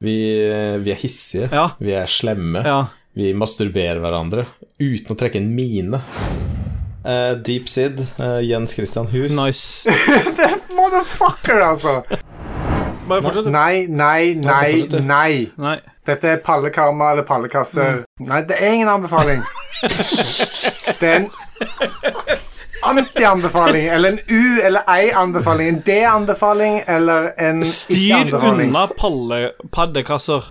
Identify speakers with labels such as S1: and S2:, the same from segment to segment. S1: Vi, eh, vi er hissige,
S2: Ja.
S1: vi er slemme,
S2: Ja.
S1: vi masturberer hverandre uten å trekke en mine. Eh, Deep Sid, eh, Jens Christian Hus.
S2: Nice.
S3: Motherfucker, altså!
S2: Bare fortsett, du.
S3: Nei, nei, nei,
S1: fortsett, du.
S3: nei.
S2: Nei.
S3: Dette er pallekarma eller pallekasse. Nei, det er ingen anbefaling. Det er en anti-anbefaling, eller en u- eller ei-anbefaling, en d-anbefaling eller en
S2: Styr
S3: ikke-anbefaling.
S2: unna palle, paddekasser.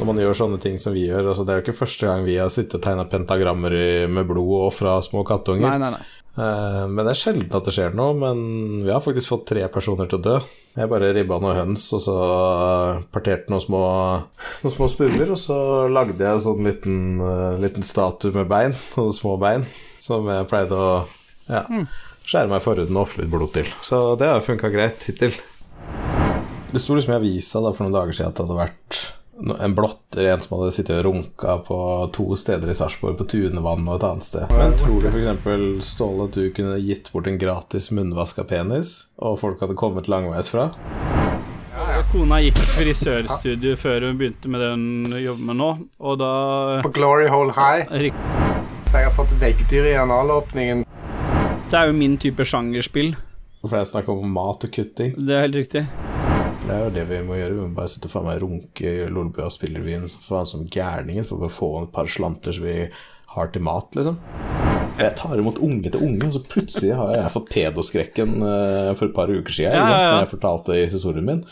S1: Når man gjør sånne ting som vi gjør altså Det er jo ikke første gang vi har sittet og tegna pentagrammer i- med blod og fra små kattunger.
S2: Nei, nei, nei.
S1: Eh, men det er sjelden at det skjer noe. Men vi har faktisk fått tre personer til å dø. Jeg bare ribba noen høns, og så eh, parterte noen små, noen små spurver. Og så lagde jeg sånn liten, eh, liten statue med bein, noen små bein, som jeg pleide å ja, skjære meg i forhuden og ofre litt blod til. Så det har funka greit hittil. Det sto liksom i avisa da, for noen dager siden at det hadde vært no- en blotter, en som hadde sittet og runka på to steder i Sarpsborg, på Tunevann og et annet sted. Men tror du f.eks. Ståle at du kunne gitt bort en gratis munnvaska penis, og folk hadde kommet langveisfra?
S2: Kona gikk i frisørstudio før hun begynte med det hun jobber med nå, og da
S3: På Glory Hole High.
S2: Rik-
S3: Jeg har fått veggdyr i analåpningen.
S2: Det er jo min type sjangerspill.
S1: For det er snakk om mat og kutting.
S2: Det er helt riktig.
S1: Det er jo det vi må gjøre. Vi må bare sitte og faen meg runke i Lolbua og spillrevyen som faen som gærningen for å få et par slanter som vi har til mat, liksom. Jeg tar imot unge til unge, og så plutselig har jeg fått pedoskrekken eh, for et par uker siden.
S2: Ja,
S1: ikke sant,
S2: ja, ja.
S1: Når jeg fortalte i historien min.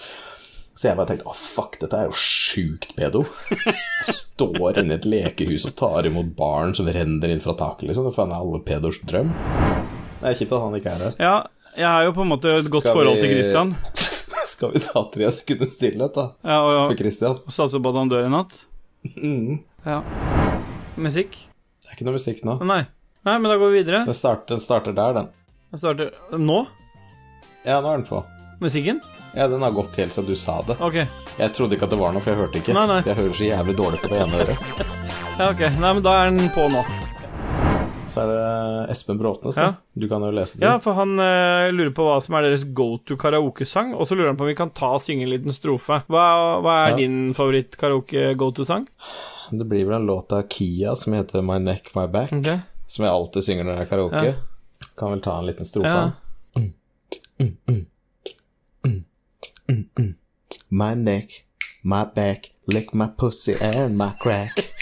S1: Så jeg bare tenkte å fuck, dette er jo sjukt pedo. Jeg står inne i et lekehus og tar imot barn som renner inn fra taket, liksom. Det er faen alle pedos drøm. Det er kjipt at han ikke er her.
S2: Ja, jeg har jo på en måte et godt
S1: Skal
S2: forhold
S1: vi-
S2: til Christian.
S1: Skal vi ta tre sekunder stillhet, da?
S2: Ja, og,
S1: For
S2: og
S1: Christian.
S2: satser på at han dør i natt.
S1: Mm.
S2: Ja. Musikk?
S1: Det er ikke noe musikk nå.
S2: Nei. Nei, men da går vi videre.
S1: Den starter, den starter der, den.
S2: Jeg starter Nå?
S1: Ja, nå er den på.
S2: Musikken?
S1: Ja, Den har gått helt siden du sa det.
S2: OK.
S1: Jeg trodde ikke at det var noe, for jeg hørte ikke.
S2: Nei, nei.
S1: Jeg hører så jævlig dårlig på det ene øret.
S2: Ja, ok. Nei, men da er den på nå.
S1: Så er det eh, Espen Bråtnes, da.
S2: Ja.
S1: Du kan jo lese den.
S2: Ja, for han eh, lurer på hva som er deres go to karaokesang, og så lurer han på om vi kan ta og synge en liten strofe. Hva, hva er
S1: Ja.
S2: din favoritt-karaoke-go to-sang?
S1: Det blir vel en låt av Kia som heter My Neck, My Back,
S2: Ok.
S1: som jeg alltid synger når jeg er karaoke.
S2: Ja.
S1: Kan vel ta en liten strofe.
S2: Ja.
S1: han. My neck, my back, lick my pussy and my crack.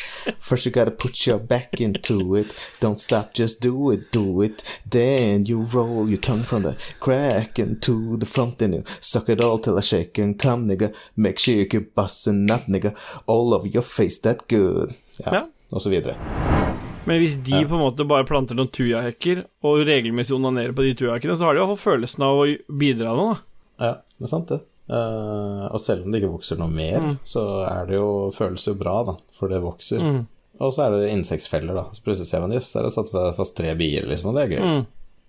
S1: First you gotta put your back into it. Don't stop, just do it, do it. Then you roll your tongue from the crack into the front and you suck it all till I shake and come, nigga. Make sure you keep busting up, nigga. All over your face, that good. Ja,
S2: Ja.
S1: og så videre.
S2: Men hvis de på en måte bare planter noen tujahekker og regelmessig onanerer på de tujahekkene, så har de i hvert fall følelsen av å bidra nå, da.
S1: Ja, det er sant det. Eh, og selv om det ikke vokser noe mer, så er det jo, føles det jo bra, da, for det vokser. Og så er det insektfeller, da. Så plutselig ser man jøss, der er satt fast tre bier, liksom, og det er gøy.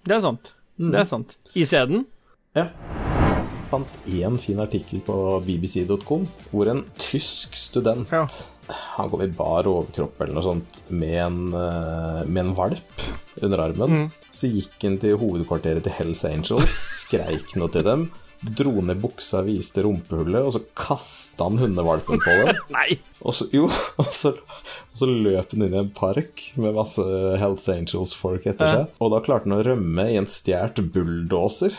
S2: Det er sant. Det er sant. I sæden?
S1: Ja. Fant én fin artikkel på bbc.com hvor en tysk student
S2: Ja.
S1: Han kom i bar overkropp eller noe sånt med en, eh, med en valp under armen. Så gikk han til hovedkvarteret til Hells Angels, skreik noe til dem, dro ned buksa, viste rumpehullet, og så kasta han hundevalpen på dem.
S2: Nei!
S1: Og så, jo, og så, og så løp han inn i en park med masse Hells Angels-folk etter seg. Og da klarte han å rømme i en stjålet bulldoser.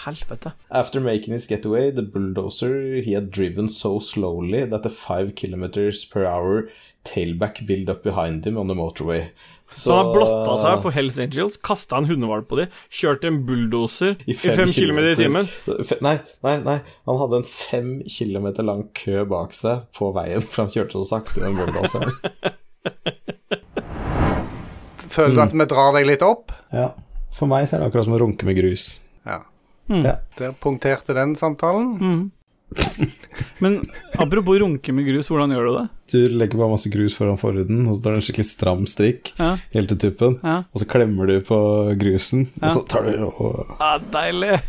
S2: Helvete.
S1: After making his getaway, the bulldozer he had driven so slowly that the five kilometers per hour tailback built up behind him on the motorway.
S2: Så han har blotta seg for Hells Angels, kasta en hundevalp på dem, kjørt en bulldoser i fem kilometer i timen.
S1: Fe- Nei, nei, nei. Han hadde en fem kilometer lang kø bak seg på veien, for han kjørte så sakte, den bulldoseren.
S3: Føler du at vi drar deg litt opp?
S1: ja. For meg så er det akkurat som å runke med grus.
S3: Ja.
S2: Hmm.
S1: Ja.
S3: Der punkterte den samtalen.
S2: Men apropos runke med grus, hvordan gjør du det?
S1: Du legger bare masse grus foran forhuden, og så tar du en skikkelig stram strikk
S2: Ja.
S1: helt til tuppen,
S2: Ja.
S1: og så klemmer du på grusen, og så tar du og
S2: Ah, deilig!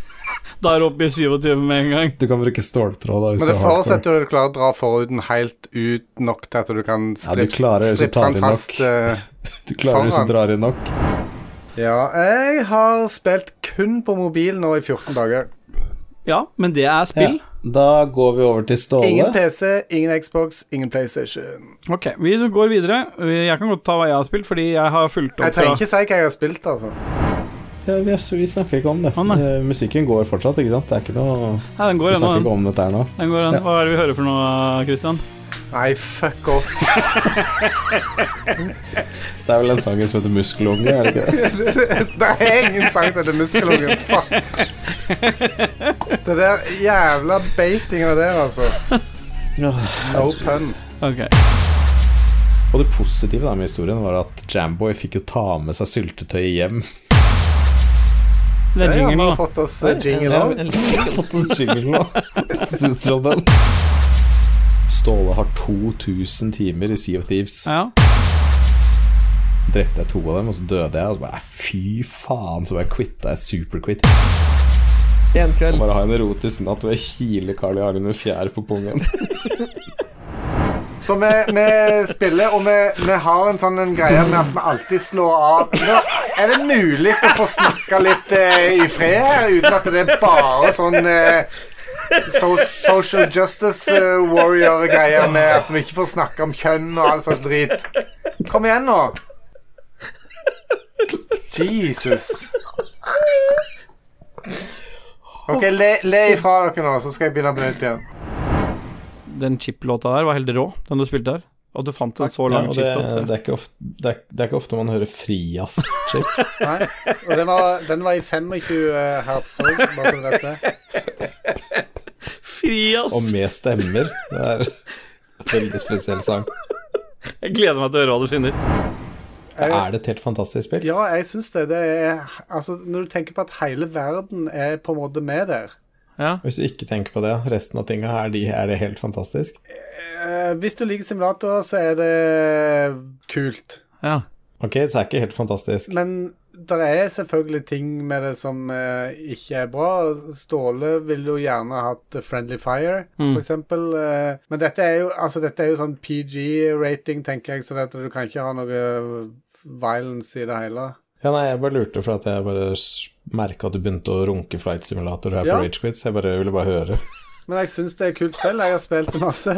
S2: Da er det oppe i 27 med en gang.
S1: Du kan bruke ståltråd da, hvis
S3: Men det
S1: du har hardcore.
S3: forutsetter jo at du klarer å dra forhuden helt ut nok til at du kan
S1: du
S3: strips,
S1: klarer det, så
S3: stripse
S1: tar
S3: den
S1: vi
S3: fast.
S1: nok.
S3: eh.
S1: Du klarer hvis
S3: Faen.
S1: du drar inn nok.
S3: ja, jeg har spilt kun på mobil nå i 14 dager.
S2: Ja, men det er spill.
S1: Ja. Da går vi over til Ståle.
S3: Ingen PC, ingen Xbox, ingen PlayStation.
S2: Ok, vi går videre. Jeg kan godt ta hva jeg har spilt, fordi jeg har fulgt opp
S3: Jeg trenger ikke si hva jeg har spilt, altså.
S1: Ja, vi, altså, vi snakker ikke om det.
S2: Å, nei.
S1: Eh, musikken går fortsatt, ikke sant? Det er ikke noe
S2: Nei, den går
S1: Vi snakker
S2: ennå, den.
S1: ikke om dette her nå.
S2: den går ennå.
S1: Ja.
S2: Hva er det vi hører for noe, Christian?
S3: Nei, fuck off.
S1: Det er vel en sang som heter 'Muskelunge', er det ikke det?
S3: Det er ingen sang til dette muskelungen. Fuck. Det der jævla beitinga der, altså.
S1: Ja.
S3: No pun.
S2: Ok.
S1: Og det positive da med historien var at Jamboy fikk jo ta med seg syltetøyet hjem.
S2: Det er
S3: Ja, vi
S2: jingle
S3: har
S2: nå.
S3: fått oss eh, jingle
S1: Ja,
S3: òg.
S1: vel, vi har fått oss jingle nå. Syns dere om den? Ståle har 2000 timer i Sea of Thieves.
S2: Ja.
S1: Drepte jeg to av dem, og så døde jeg. Og så bare fy faen, så bare quitta jeg superquit.
S4: En kveld.
S1: Bare ha en erotisk natt hvor jeg kiler Carl I. Arne med fjær på pungen.
S3: Så vi, vi spiller, og vi, vi har en sånn en greie med at vi alltid slår av Nå Er det mulig å få snakke litt eh, i fred her, uten at det er bare sånn eh, so Social justice eh, warrior-greier med at vi ikke får snakke om kjønn og all slags drit. Kom igjen, nå. Jesus. OK, le, le ifra dere nå, så skal jeg begynne på nytt igjen.
S2: Den chip-låta der var helt rå, den du spilte der. Og du fant en så
S1: Ja,
S2: lang
S1: og det,
S2: chip-låt.
S1: det, er ikke ofte, det, er, det er ikke ofte man hører frias-chip.
S3: Nei, og den var, den var i 25 hertz òg, bare så du vet det.
S2: Fri, ass!
S1: Og med stemmer. Det er en veldig spesiell sang.
S2: Jeg gleder meg til å høre hva du finner.
S1: Det er det et helt fantastisk spill.
S3: Ja, jeg syns det. det er, altså, når du tenker på at hele verden er på en måte med der
S2: Ja.
S1: Hvis du ikke tenker på det, resten av tinga er, de, er det helt fantastisk.
S3: Eh, Hvis du liker simulatorer, så er det kult.
S2: ja.
S1: Ok, så er det ikke helt fantastisk.
S3: Men det er selvfølgelig ting med det som eh, ikke er bra. Ståle ville jo gjerne hatt Friendly Fire, for eksempel. eh, men dette er jo, altså, dette er jo sånn PG-rating, tenker jeg, så dette, du kan ikke ha noe violence i det hele.
S1: Ja, nei, jeg bare lurte for at jeg bare merka at du begynte å runke flight simulator her
S3: Ja.
S1: på Rage Quit, så jeg bare ville bare høre.
S3: Men jeg syns det er et kult spill. Jeg har spilt det masse.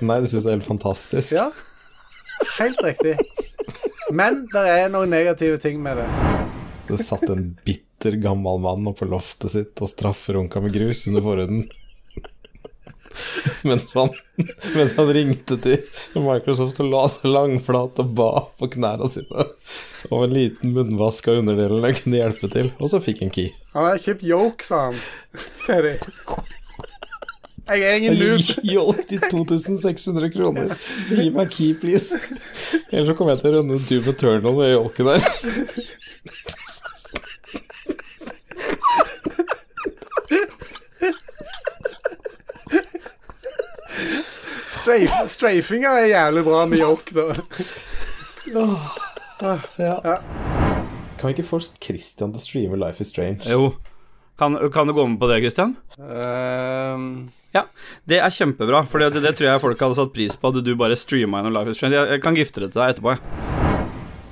S1: Nei, det syns jeg er helt fantastisk.
S3: Ja. Helt riktig. Men det er noen negative ting med det.
S1: Det satt en bitter gammel mann oppe på loftet sitt og strafferunka med grus under forhuden. Mens han, mens han ringte til Microsoft og la seg langflat og ba på knærne sine om en liten munnvask av underdelen jeg kunne hjelpe til, og så fikk han key.
S3: Han har kjøpt yoke, sa han. Det er det. Jeg er ingen noob.
S1: Jeg Hjalp de 2600 kroner. Gi meg key, please. Ellers så kommer jeg til å rønne en tur med Turnal med jolken der.
S3: Strafe, strafinga er jævlig bra med yoke, da. Ja.
S1: Kan vi ikke få Christian til å streame Life is Strange?
S2: Jo. Kan, kan du gå med på det, Christian? Ja, det er kjempebra, for det, det tror jeg folk hadde satt pris på hadde du bare streama gjennom Life is Strange. Jeg, jeg kan gifte det til deg etterpå. jeg.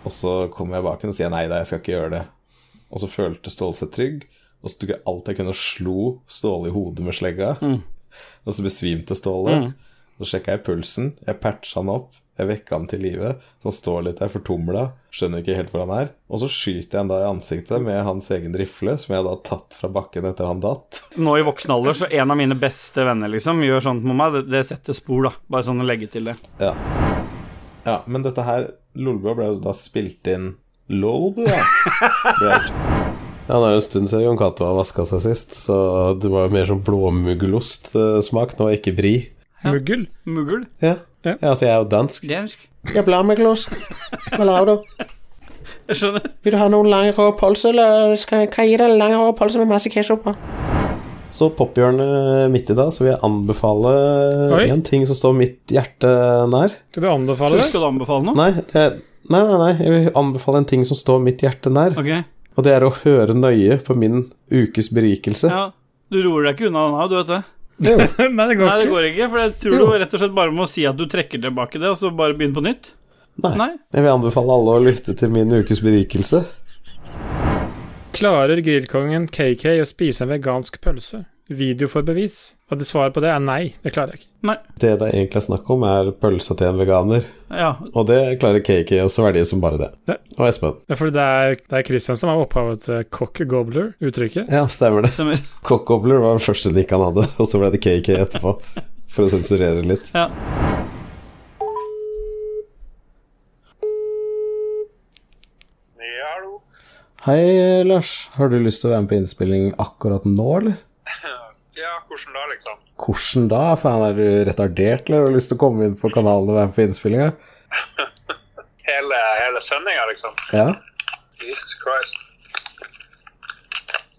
S1: Og så kommer jeg bak henne og sier nei da, jeg skal ikke gjøre det. Og så følte Ståle seg trygg, og så tok jeg alt jeg kunne og slo Ståle i hodet med slegga. Og så besvimte Ståle. Så sjekka jeg pulsen, jeg patcha han opp, jeg vekka han til live. Så han står litt der fortumla, skjønner ikke helt hvor han er. Og så skyter jeg han da i ansiktet med hans egen rifle, som jeg da har tatt fra bakken etter han datt.
S2: Nå i voksen alder, så en av mine beste venner liksom gjør sånt med meg. Det, det setter spor, da. Bare sånn å legge til det.
S1: Ja, ja men dette her Lolbua ble jo da spilt inn Lolbua? Ble jo sp- Ja, det er jo en stund siden Jon Cato har vaska seg sist, så det var jo mer sånn blåmuggulostsmak. Nå er ikke bri.
S2: Muggel? Muggel?
S1: Ja.
S2: Ja.
S1: ja, altså jeg er jo dansk.
S2: Dansk?
S1: Jeg er blåmuggulost. Hva lager du?
S2: Jeg skjønner.
S1: Vil du ha noen langhåra pølse, eller skal jeg gi deg langhåra pølse med masse ketsjup på? Så pophjørnet midt i da, så vil jeg anbefale
S5: Oi.
S1: én ting som står mitt hjerte nær.
S5: Skal du anbefale det?
S2: Skal du anbefale noe?
S1: Nei, det- nei, nei, nei, jeg vil anbefale en ting som står mitt hjerte nær.
S2: Ok.
S1: Og det er å høre nøye på min ukes berikelse.
S2: Ja. Du roer deg ikke unna den her, du vet det.
S5: Nei, det
S2: Nei,
S5: går
S2: det
S5: ikke.
S2: går ikke, for jeg tror du rett og slett bare må si at du trekker tilbake det, og så bare begynne på nytt.
S1: Nei.
S2: Nei.
S1: Jeg vil anbefale alle å lytte til min ukes berikelse.
S5: Klarer grillkongen KK å spise en vegansk pølse? video for bevis? Og det svaret på det er nei, det klarer jeg ikke.
S1: Det det egentlig er snakk om, er pølsa til en veganer.
S2: Ja,
S1: Og det klarer Kiki å svelge som bare det.
S5: Ja.
S1: Og Espen.
S5: Det er fordi det er, det er Christian som er opphavet til cock gobbler, uttrykket.
S1: Ja, stemmer det.
S2: stemmer.
S1: Cockobler var den første nikk han hadde, og så ble det KK etterpå. For å sensurere litt.
S2: Ja.
S6: Ja, hallo.
S1: Hei, Lars. Har du lyst til å være med på innspilling akkurat nå, eller?
S6: Ja, hvordan da, liksom?
S1: Hvordan da? Faen, er du retardert, eller har du lyst til å komme inn på kanalen og være med på innspillinga?
S6: Hele, hele sendinga, liksom?
S1: Ja?
S6: Jesus Christ.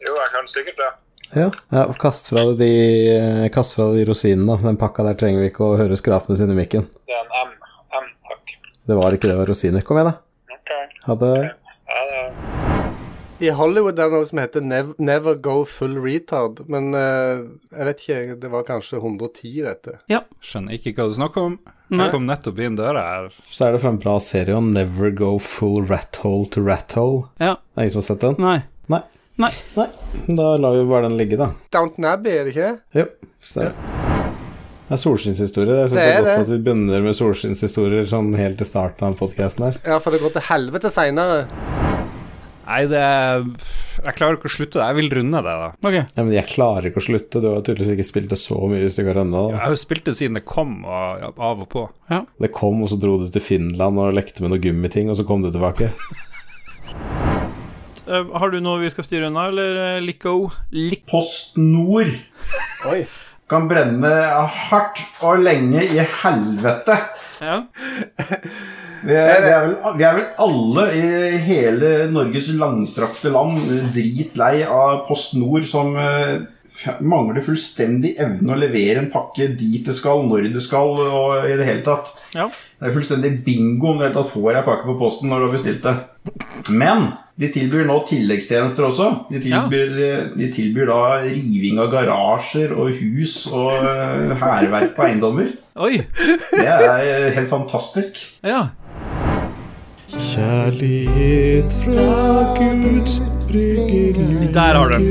S6: Jo, jeg kan sikkert det.
S1: Ja. ja kast, fra deg de, kast fra deg de rosinene. da. Den pakka der trenger vi ikke å høre skrapene sine i mikken.
S6: Det er en M. M, takk.
S1: Det var ikke det, det var rosiner. Kom igjen, da.
S6: OK.
S1: Ha det.
S6: Ja, det er
S3: I Hollywood er det noe som heter Nev Never Go Full Retard, men eh, jeg vet ikke, det var kanskje 110 i dette.
S7: Skjønner ikke hva du snakker om.
S2: Nei.
S7: Jeg kom nettopp inn døra her.
S1: Så er det fra en bra serie om Never Go Full Rat Hole to Rat Hole.
S2: Ja.
S1: Det er ingen som har sett den?
S2: Nei.
S1: Nei.
S2: Nei.
S1: Da lar vi bare den ligge, da.
S3: Downton Abbey, er det ikke?
S1: Jo, stemmer. Det er solskinnshistorie. Jeg syns
S3: Det
S1: det,
S3: er
S1: er godt
S3: det.
S1: at vi begynner med solskinnshistorier sånn helt til starten av podkasten her.
S3: Ja, for det går til helvete seinere.
S7: Nei, det Jeg klarer ikke å slutte det. Jeg vil runde det, da.
S2: Ok.
S1: Ja, men jeg klarer ikke å slutte. Du har tydeligvis ikke spilt det så mye stykker ennå.
S7: Jeg
S1: da.
S7: har jo spilt det siden det kom, og ja, av og på.
S1: Det kom, og så dro du til Finland og lekte med noen gummiting, og så kom du tilbake.
S2: Eh, har du noe vi skal styre unna, eller eh, Lico? Lik...
S8: Post Nord kan brenne hardt og lenge i helvete.
S2: Ja.
S8: Vi er, vi er, vel, vi er vel alle i hele Norges langstrakte land dritlei av Post Nord som eh, f- mangler fullstendig evne å levere en pakke dit det skal, når det skal, og i det hele tatt.
S2: Ja.
S8: Det er fullstendig bingo om du i det hele tatt får ei pakke på posten når du har bestilt det. Men de tilbyr nå tilleggstjenester også. De tilbyr, de tilbyr da riving av garasjer og hus og eh, hærverk på eiendommer.
S2: Oi.
S8: Det er eh, helt fantastisk.
S2: Ja.
S1: Kjærlighet fra Guds brygge
S2: Der har du den.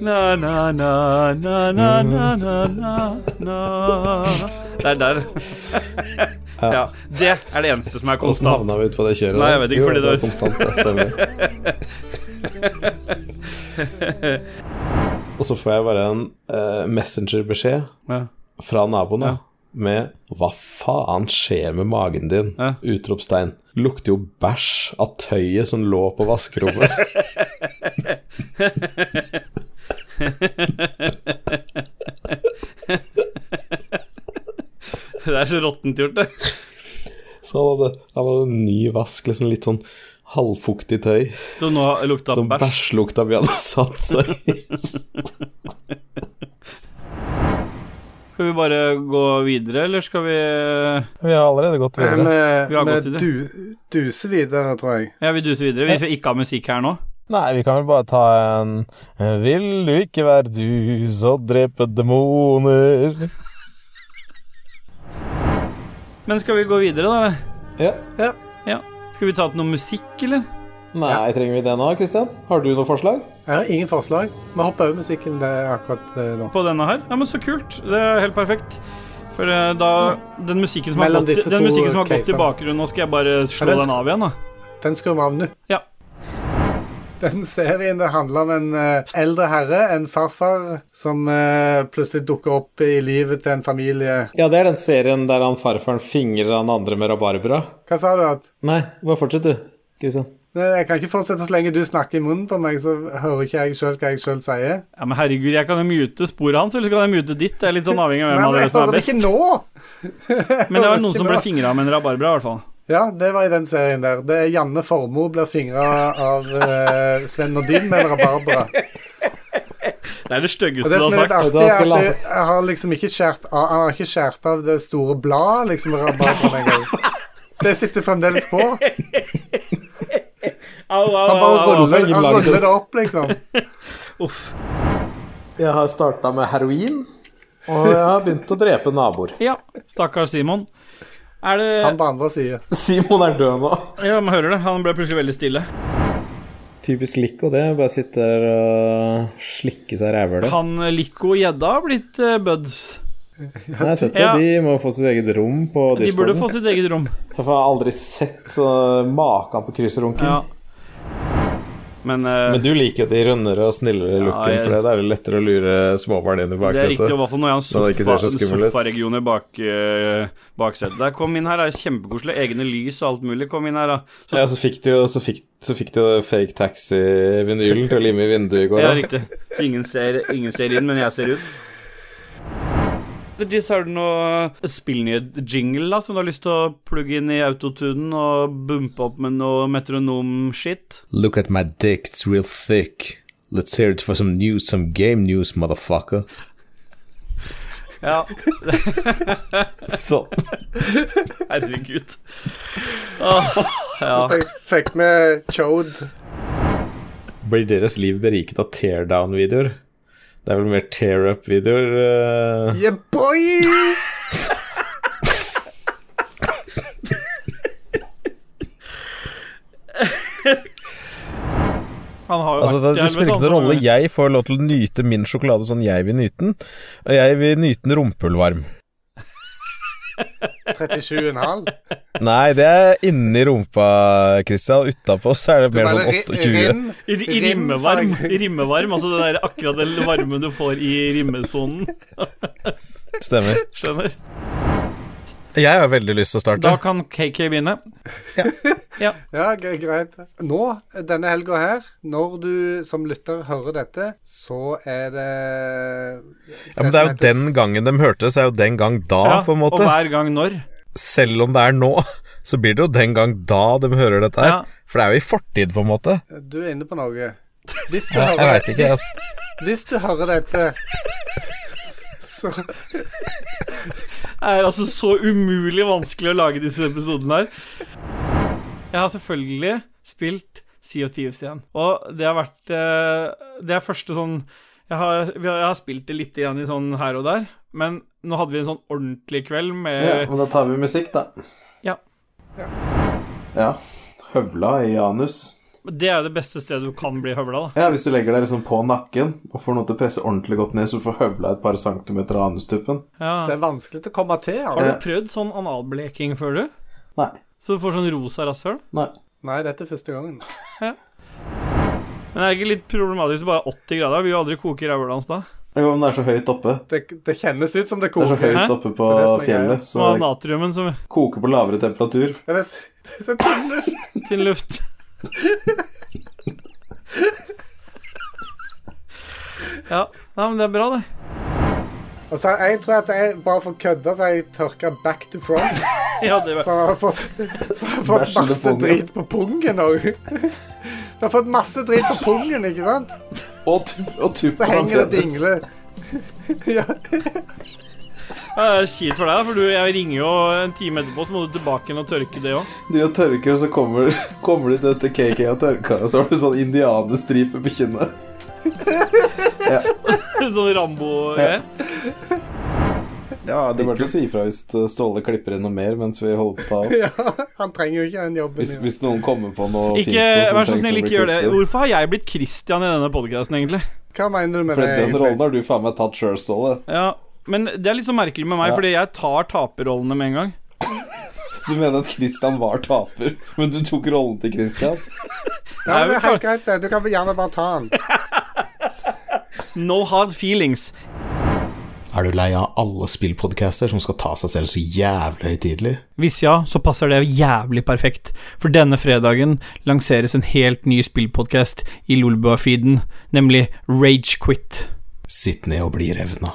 S2: Na, na, na, na, na, na, na, na, na. Der, der. ja. Det er det eneste som er
S1: Åssen
S2: konstant.
S1: havna vi ut på det kjøret?
S2: Nei,
S1: der?
S2: jeg vet ikke,
S1: Jo,
S2: fordi det
S1: det
S2: var-
S1: var konstant, det stemmer. Og så får jeg bare en eh, messengerbeskjed
S2: Ja.
S1: fra naboen da, med 'Hva faen skjer med magen din?'
S2: Ja.
S1: Utropstegn. Lukter jo bæsj av tøyet som lå på vaskerommet.
S2: Det er så råttent gjort, det.
S1: så han hadde, han hadde en ny vask, liksom litt sånn halvfuktig tøy.
S2: Så nå lukta
S1: Som
S2: bæsj.
S1: bæsjlukta vi hadde satt seg i.
S2: Skal vi bare gå videre, eller skal vi
S1: vi har allerede gått
S3: Eh,
S1: videre.
S2: Vi har
S3: Vi
S2: gått til det.
S3: du, duser videre, tror jeg.
S2: Ja, vi duser videre. Vi skal ikke ha musikk her nå.
S1: Nei, vi kan vel bare ta en Vil du ikke være du, så drepe demoner.
S2: Men skal vi gå videre, da? eller?
S1: Ja.
S2: Skal vi ta til noe musikk, eller?
S1: Nei, trenger vi det nå, Kristian? Har du noe forslag?
S3: Jeg har ingen forslag. Vi hopper over musikken eh, akkurat eh, nå.
S2: På denne her? Ja, men så kult. Det er helt perfekt. For eh, da Den musikken som har
S3: Mellom
S2: gått, i-
S3: disse
S2: den
S3: to
S2: musikken som har gått i
S3: casene.
S2: bakgrunnen, nå skal jeg bare slå
S3: Ja, den
S2: den
S3: sk-
S2: av igjen, da.
S3: Den skrur vi av nå.
S2: Ja.
S3: Den serien det handler om en eh, eldre herre, en farfar, som eh, plutselig dukker opp i livet til en familie.
S1: Ja, det er den serien der han farfaren fingrer han andre med rabarbra.
S3: Hva sa du? at?
S1: Nei, bare fortsett du, Kristian.
S3: Nei, Jeg kan ikke fortsette så lenge du snakker i munnen på meg, så hører ikke jeg sjøl hva jeg sjøl sier.
S2: Ja, men herregud, jeg kan jo mute sporet hans, eller så kan jeg mute ditt. Det er litt sånn avhengig av
S3: Nei,
S2: hvem av
S3: men
S2: dere
S3: jeg
S2: som er
S3: hører det
S2: best.
S3: ikke nå!
S2: Men det var noen
S3: ikke
S2: som ble
S3: nå.
S2: fingra med en rabarbra, i hvert fall.
S3: Ja, det var i den serien der. Det er Janne Formoe blir fingra av eh, Sven Nordin med en rabarbra.
S2: Det er det
S3: Og
S2: styggeste
S3: det
S2: du
S3: som
S2: har
S3: er litt
S2: sagt.
S3: artig,
S1: Da
S3: er
S1: skal
S3: at
S1: jeg
S3: det, jeg har liksom ikke skjært av, han har ikke skjært av det store bladet, liksom, rabarbraen engang. Det sitter fremdeles på. Han
S2: Au, au, au,
S3: bare
S2: au, au.
S3: ruller,
S1: ingen
S3: han
S1: lager
S3: ruller
S1: det.
S3: det opp, liksom.
S2: Uff.
S1: Jeg har starta med heroin, og jeg har begynt å drepe naboer.
S2: Ja, stakkars Simon. Er det
S3: Han på andre siden.
S1: Simon er død nå.
S2: Ja, man hører det. Han ble plutselig veldig stille.
S1: Typisk Lico, det. Bare sitte der og slikke seg rævhølet.
S2: Han eh, Lico og Gjedda har blitt eh, buds.
S1: Nei, Jeg har sett det.
S2: Ja.
S1: De må få sitt eget rom på
S2: De burde
S1: discorden.
S2: få sitt eget rom.
S1: Jeg har aldri sett så maken på kryssrunken.
S2: Ja. Men, eh,
S1: Men du liker jo de rundere og snillere looken,
S2: jeg-
S1: for det- da er det lettere å lure småbarn inn i
S2: det er riktig,
S1: baksetet.
S2: i hvert fall når jeg har en
S1: Når det ikke
S2: sofa,
S1: ser så
S2: en
S1: skummel ut.
S2: sofaregion i bak, eh, baksetet. Der, kom inn her, det er kjempekoselig. Egne lys og alt mulig. Kom inn her, da. Så,
S1: Ja, så fikk de jo så fikk, så fikk de jo fake taxi-vinylen til å lime i vinduet i går. da.
S2: Ja, riktig. Så ingen ser, ingen ser inn, men jeg ser ut. The Jizz, har du noe et spillnyhet-jingle da, som du har lyst til å plugge inn i autotunen og bumpe opp med noe metronom-shit?
S1: Look at my dick, it's real thick. Let's hear it for some news, some game news, motherfucker.
S2: Ja.
S1: Sånn.
S2: Herregud. Åh, ja.
S3: Jeg fikk med Chode.
S1: Blir deres liv beriket av teardown-videoer? Det er vel mer tear-up-videoer? eh.
S3: Yeah, boy!
S2: Han har jo
S9: Altså, det,
S2: vært i
S9: det
S2: helvete,
S9: spiller ikke
S2: han,
S9: noen rolle.
S2: så-
S9: Jeg får lov til å nyte min sjokolade sånn jeg vil nyte den. Og jeg vil nyte den rumpehullvarm.
S3: 37,5.
S9: Nei, det er inni rumpa, Christian. Utapå så er det mer sånn 28.
S2: I, i
S3: Rim,
S2: rimmevarm,
S3: farge.
S2: i rimmevarm, altså det der akkurat den varmen du får i rimmesonen.
S9: Stemmer.
S2: Skjønner?
S9: Jeg har veldig lyst til å starte.
S2: Da kan KK begynne.
S3: Ja, gre- greit. Nå, denne helga her, når du som lytter hører dette, så er det
S9: Ja, men det er jo den gangen de hørte, så er jo den gang da,
S2: Ja,
S9: på en
S2: Og
S9: måte.
S2: hver gang når.
S9: Selv om det er nå, så blir det jo den gang da de hører dette her.
S2: Ja.
S9: For det er jo i fortid, på en måte.
S3: gangen Du er inne på noe. Hvis du,
S9: Jeg
S3: hører,
S9: veit ikke. Altså.
S3: hvis du hører dette så,
S2: Det er altså så umulig vanskelig å lage disse episodene her. Jeg har selvfølgelig spilt Sea of Thieves igjen, og det har vært eh, Det er første sånn jeg har, vi har- jeg har spilt det litt igjen i sånn her og der, men nå hadde vi en sånn ordentlig kveld med
S1: Ja, men da tar vi musikk, da.
S2: Ja.
S1: Ja. Høvla i anus.
S2: Det er jo det beste stedet du kan bli høvla, da.
S1: Ja, Hvis du legger deg liksom på nakken og får noe til å presse ordentlig godt ned, så du får høvla et par centimeter av anustuppen.
S2: Ja.
S3: Det er vanskelig å komme til.
S2: Har
S3: Altså.
S2: du prøvd sånn analbleking før, du?
S1: Nei.
S2: Så du får sånn rosa rasshøl?
S1: Nei.
S3: Nei, dette er første gangen.
S2: Men er det ikke litt problematisk bare 80 grader? Vi vil jo aldri koke rævhølet hans da.
S1: Det går, men det er så høyt oppe.
S3: Det, det kjennes ut som det
S1: Det er så
S3: koker.
S1: høyt
S2: Hæ?
S1: oppe på
S3: Det er det som er greia.
S1: fjellet, så
S2: Nå er
S1: det
S2: natriumen som
S1: koker på lavere temperatur.
S3: Det er s- det er tynn luft.
S2: tynn luft. ja. Nei, men det er bra, det.
S3: Og så jeg tror at jeg bare for å kødde, så har jeg tørka back to front.
S2: Ja, det
S3: Så
S2: var.
S3: har jeg fått, så har jeg fått
S1: Bæsjende
S3: masse
S1: pungen.
S3: drit på pungen òg. Du har fått masse drit på pungen, ikke sant?
S1: Og, tu og
S3: Så
S1: tuppen
S3: henger det dingler. Ja.
S2: Ja, det er kjipt for deg, da, for du, jeg ringer jo en time etterpå, så må du tilbake igjen og tørke det òg.
S1: Du og tørker, og så kommer, kommer du til dette KK og tørker, og så har du sånn indianerstripe på kinnet.
S2: sånn Rambo-greier.
S1: Ja, det er bare til å si ifra hvis Ståle klipper inn noe mer mens vi holder på å ta opp.
S3: ja. Han trenger jo ikke den jobben.
S1: Hvis,
S3: jo.
S1: hvis noen kommer på noe fint og
S2: Ikke,
S1: som
S2: vær så
S1: trengs å
S2: snill,
S1: bli
S2: ikke gjør det.
S1: klippet inn.
S2: Hvorfor har jeg blitt Christian i denne podkasten, egentlig?
S3: Hva mener du med
S1: For
S3: det?
S1: den rollen
S3: egentlig?
S1: har du faen meg tatt sjøl, Ståle.
S2: Ja, men det er litt så merkelig med meg,
S1: Ja.
S2: fordi jeg tar taperrollene med en gang.
S1: Så du mener at Christian var taper, men du tok rollen til Christian?
S3: Ja, men det er helt greit, det. Du kan gjerne bare ta den.
S2: No hard feelings.
S1: Er du lei av alle spillpodcaster som skal ta seg selv så jævlig høytidelig?
S2: Hvis ja, så passer det jævlig perfekt, for denne fredagen lanseres en helt ny spillpodkast i Lolbua-feeden, nemlig Ragequit.
S1: Sitt ned og bli revna.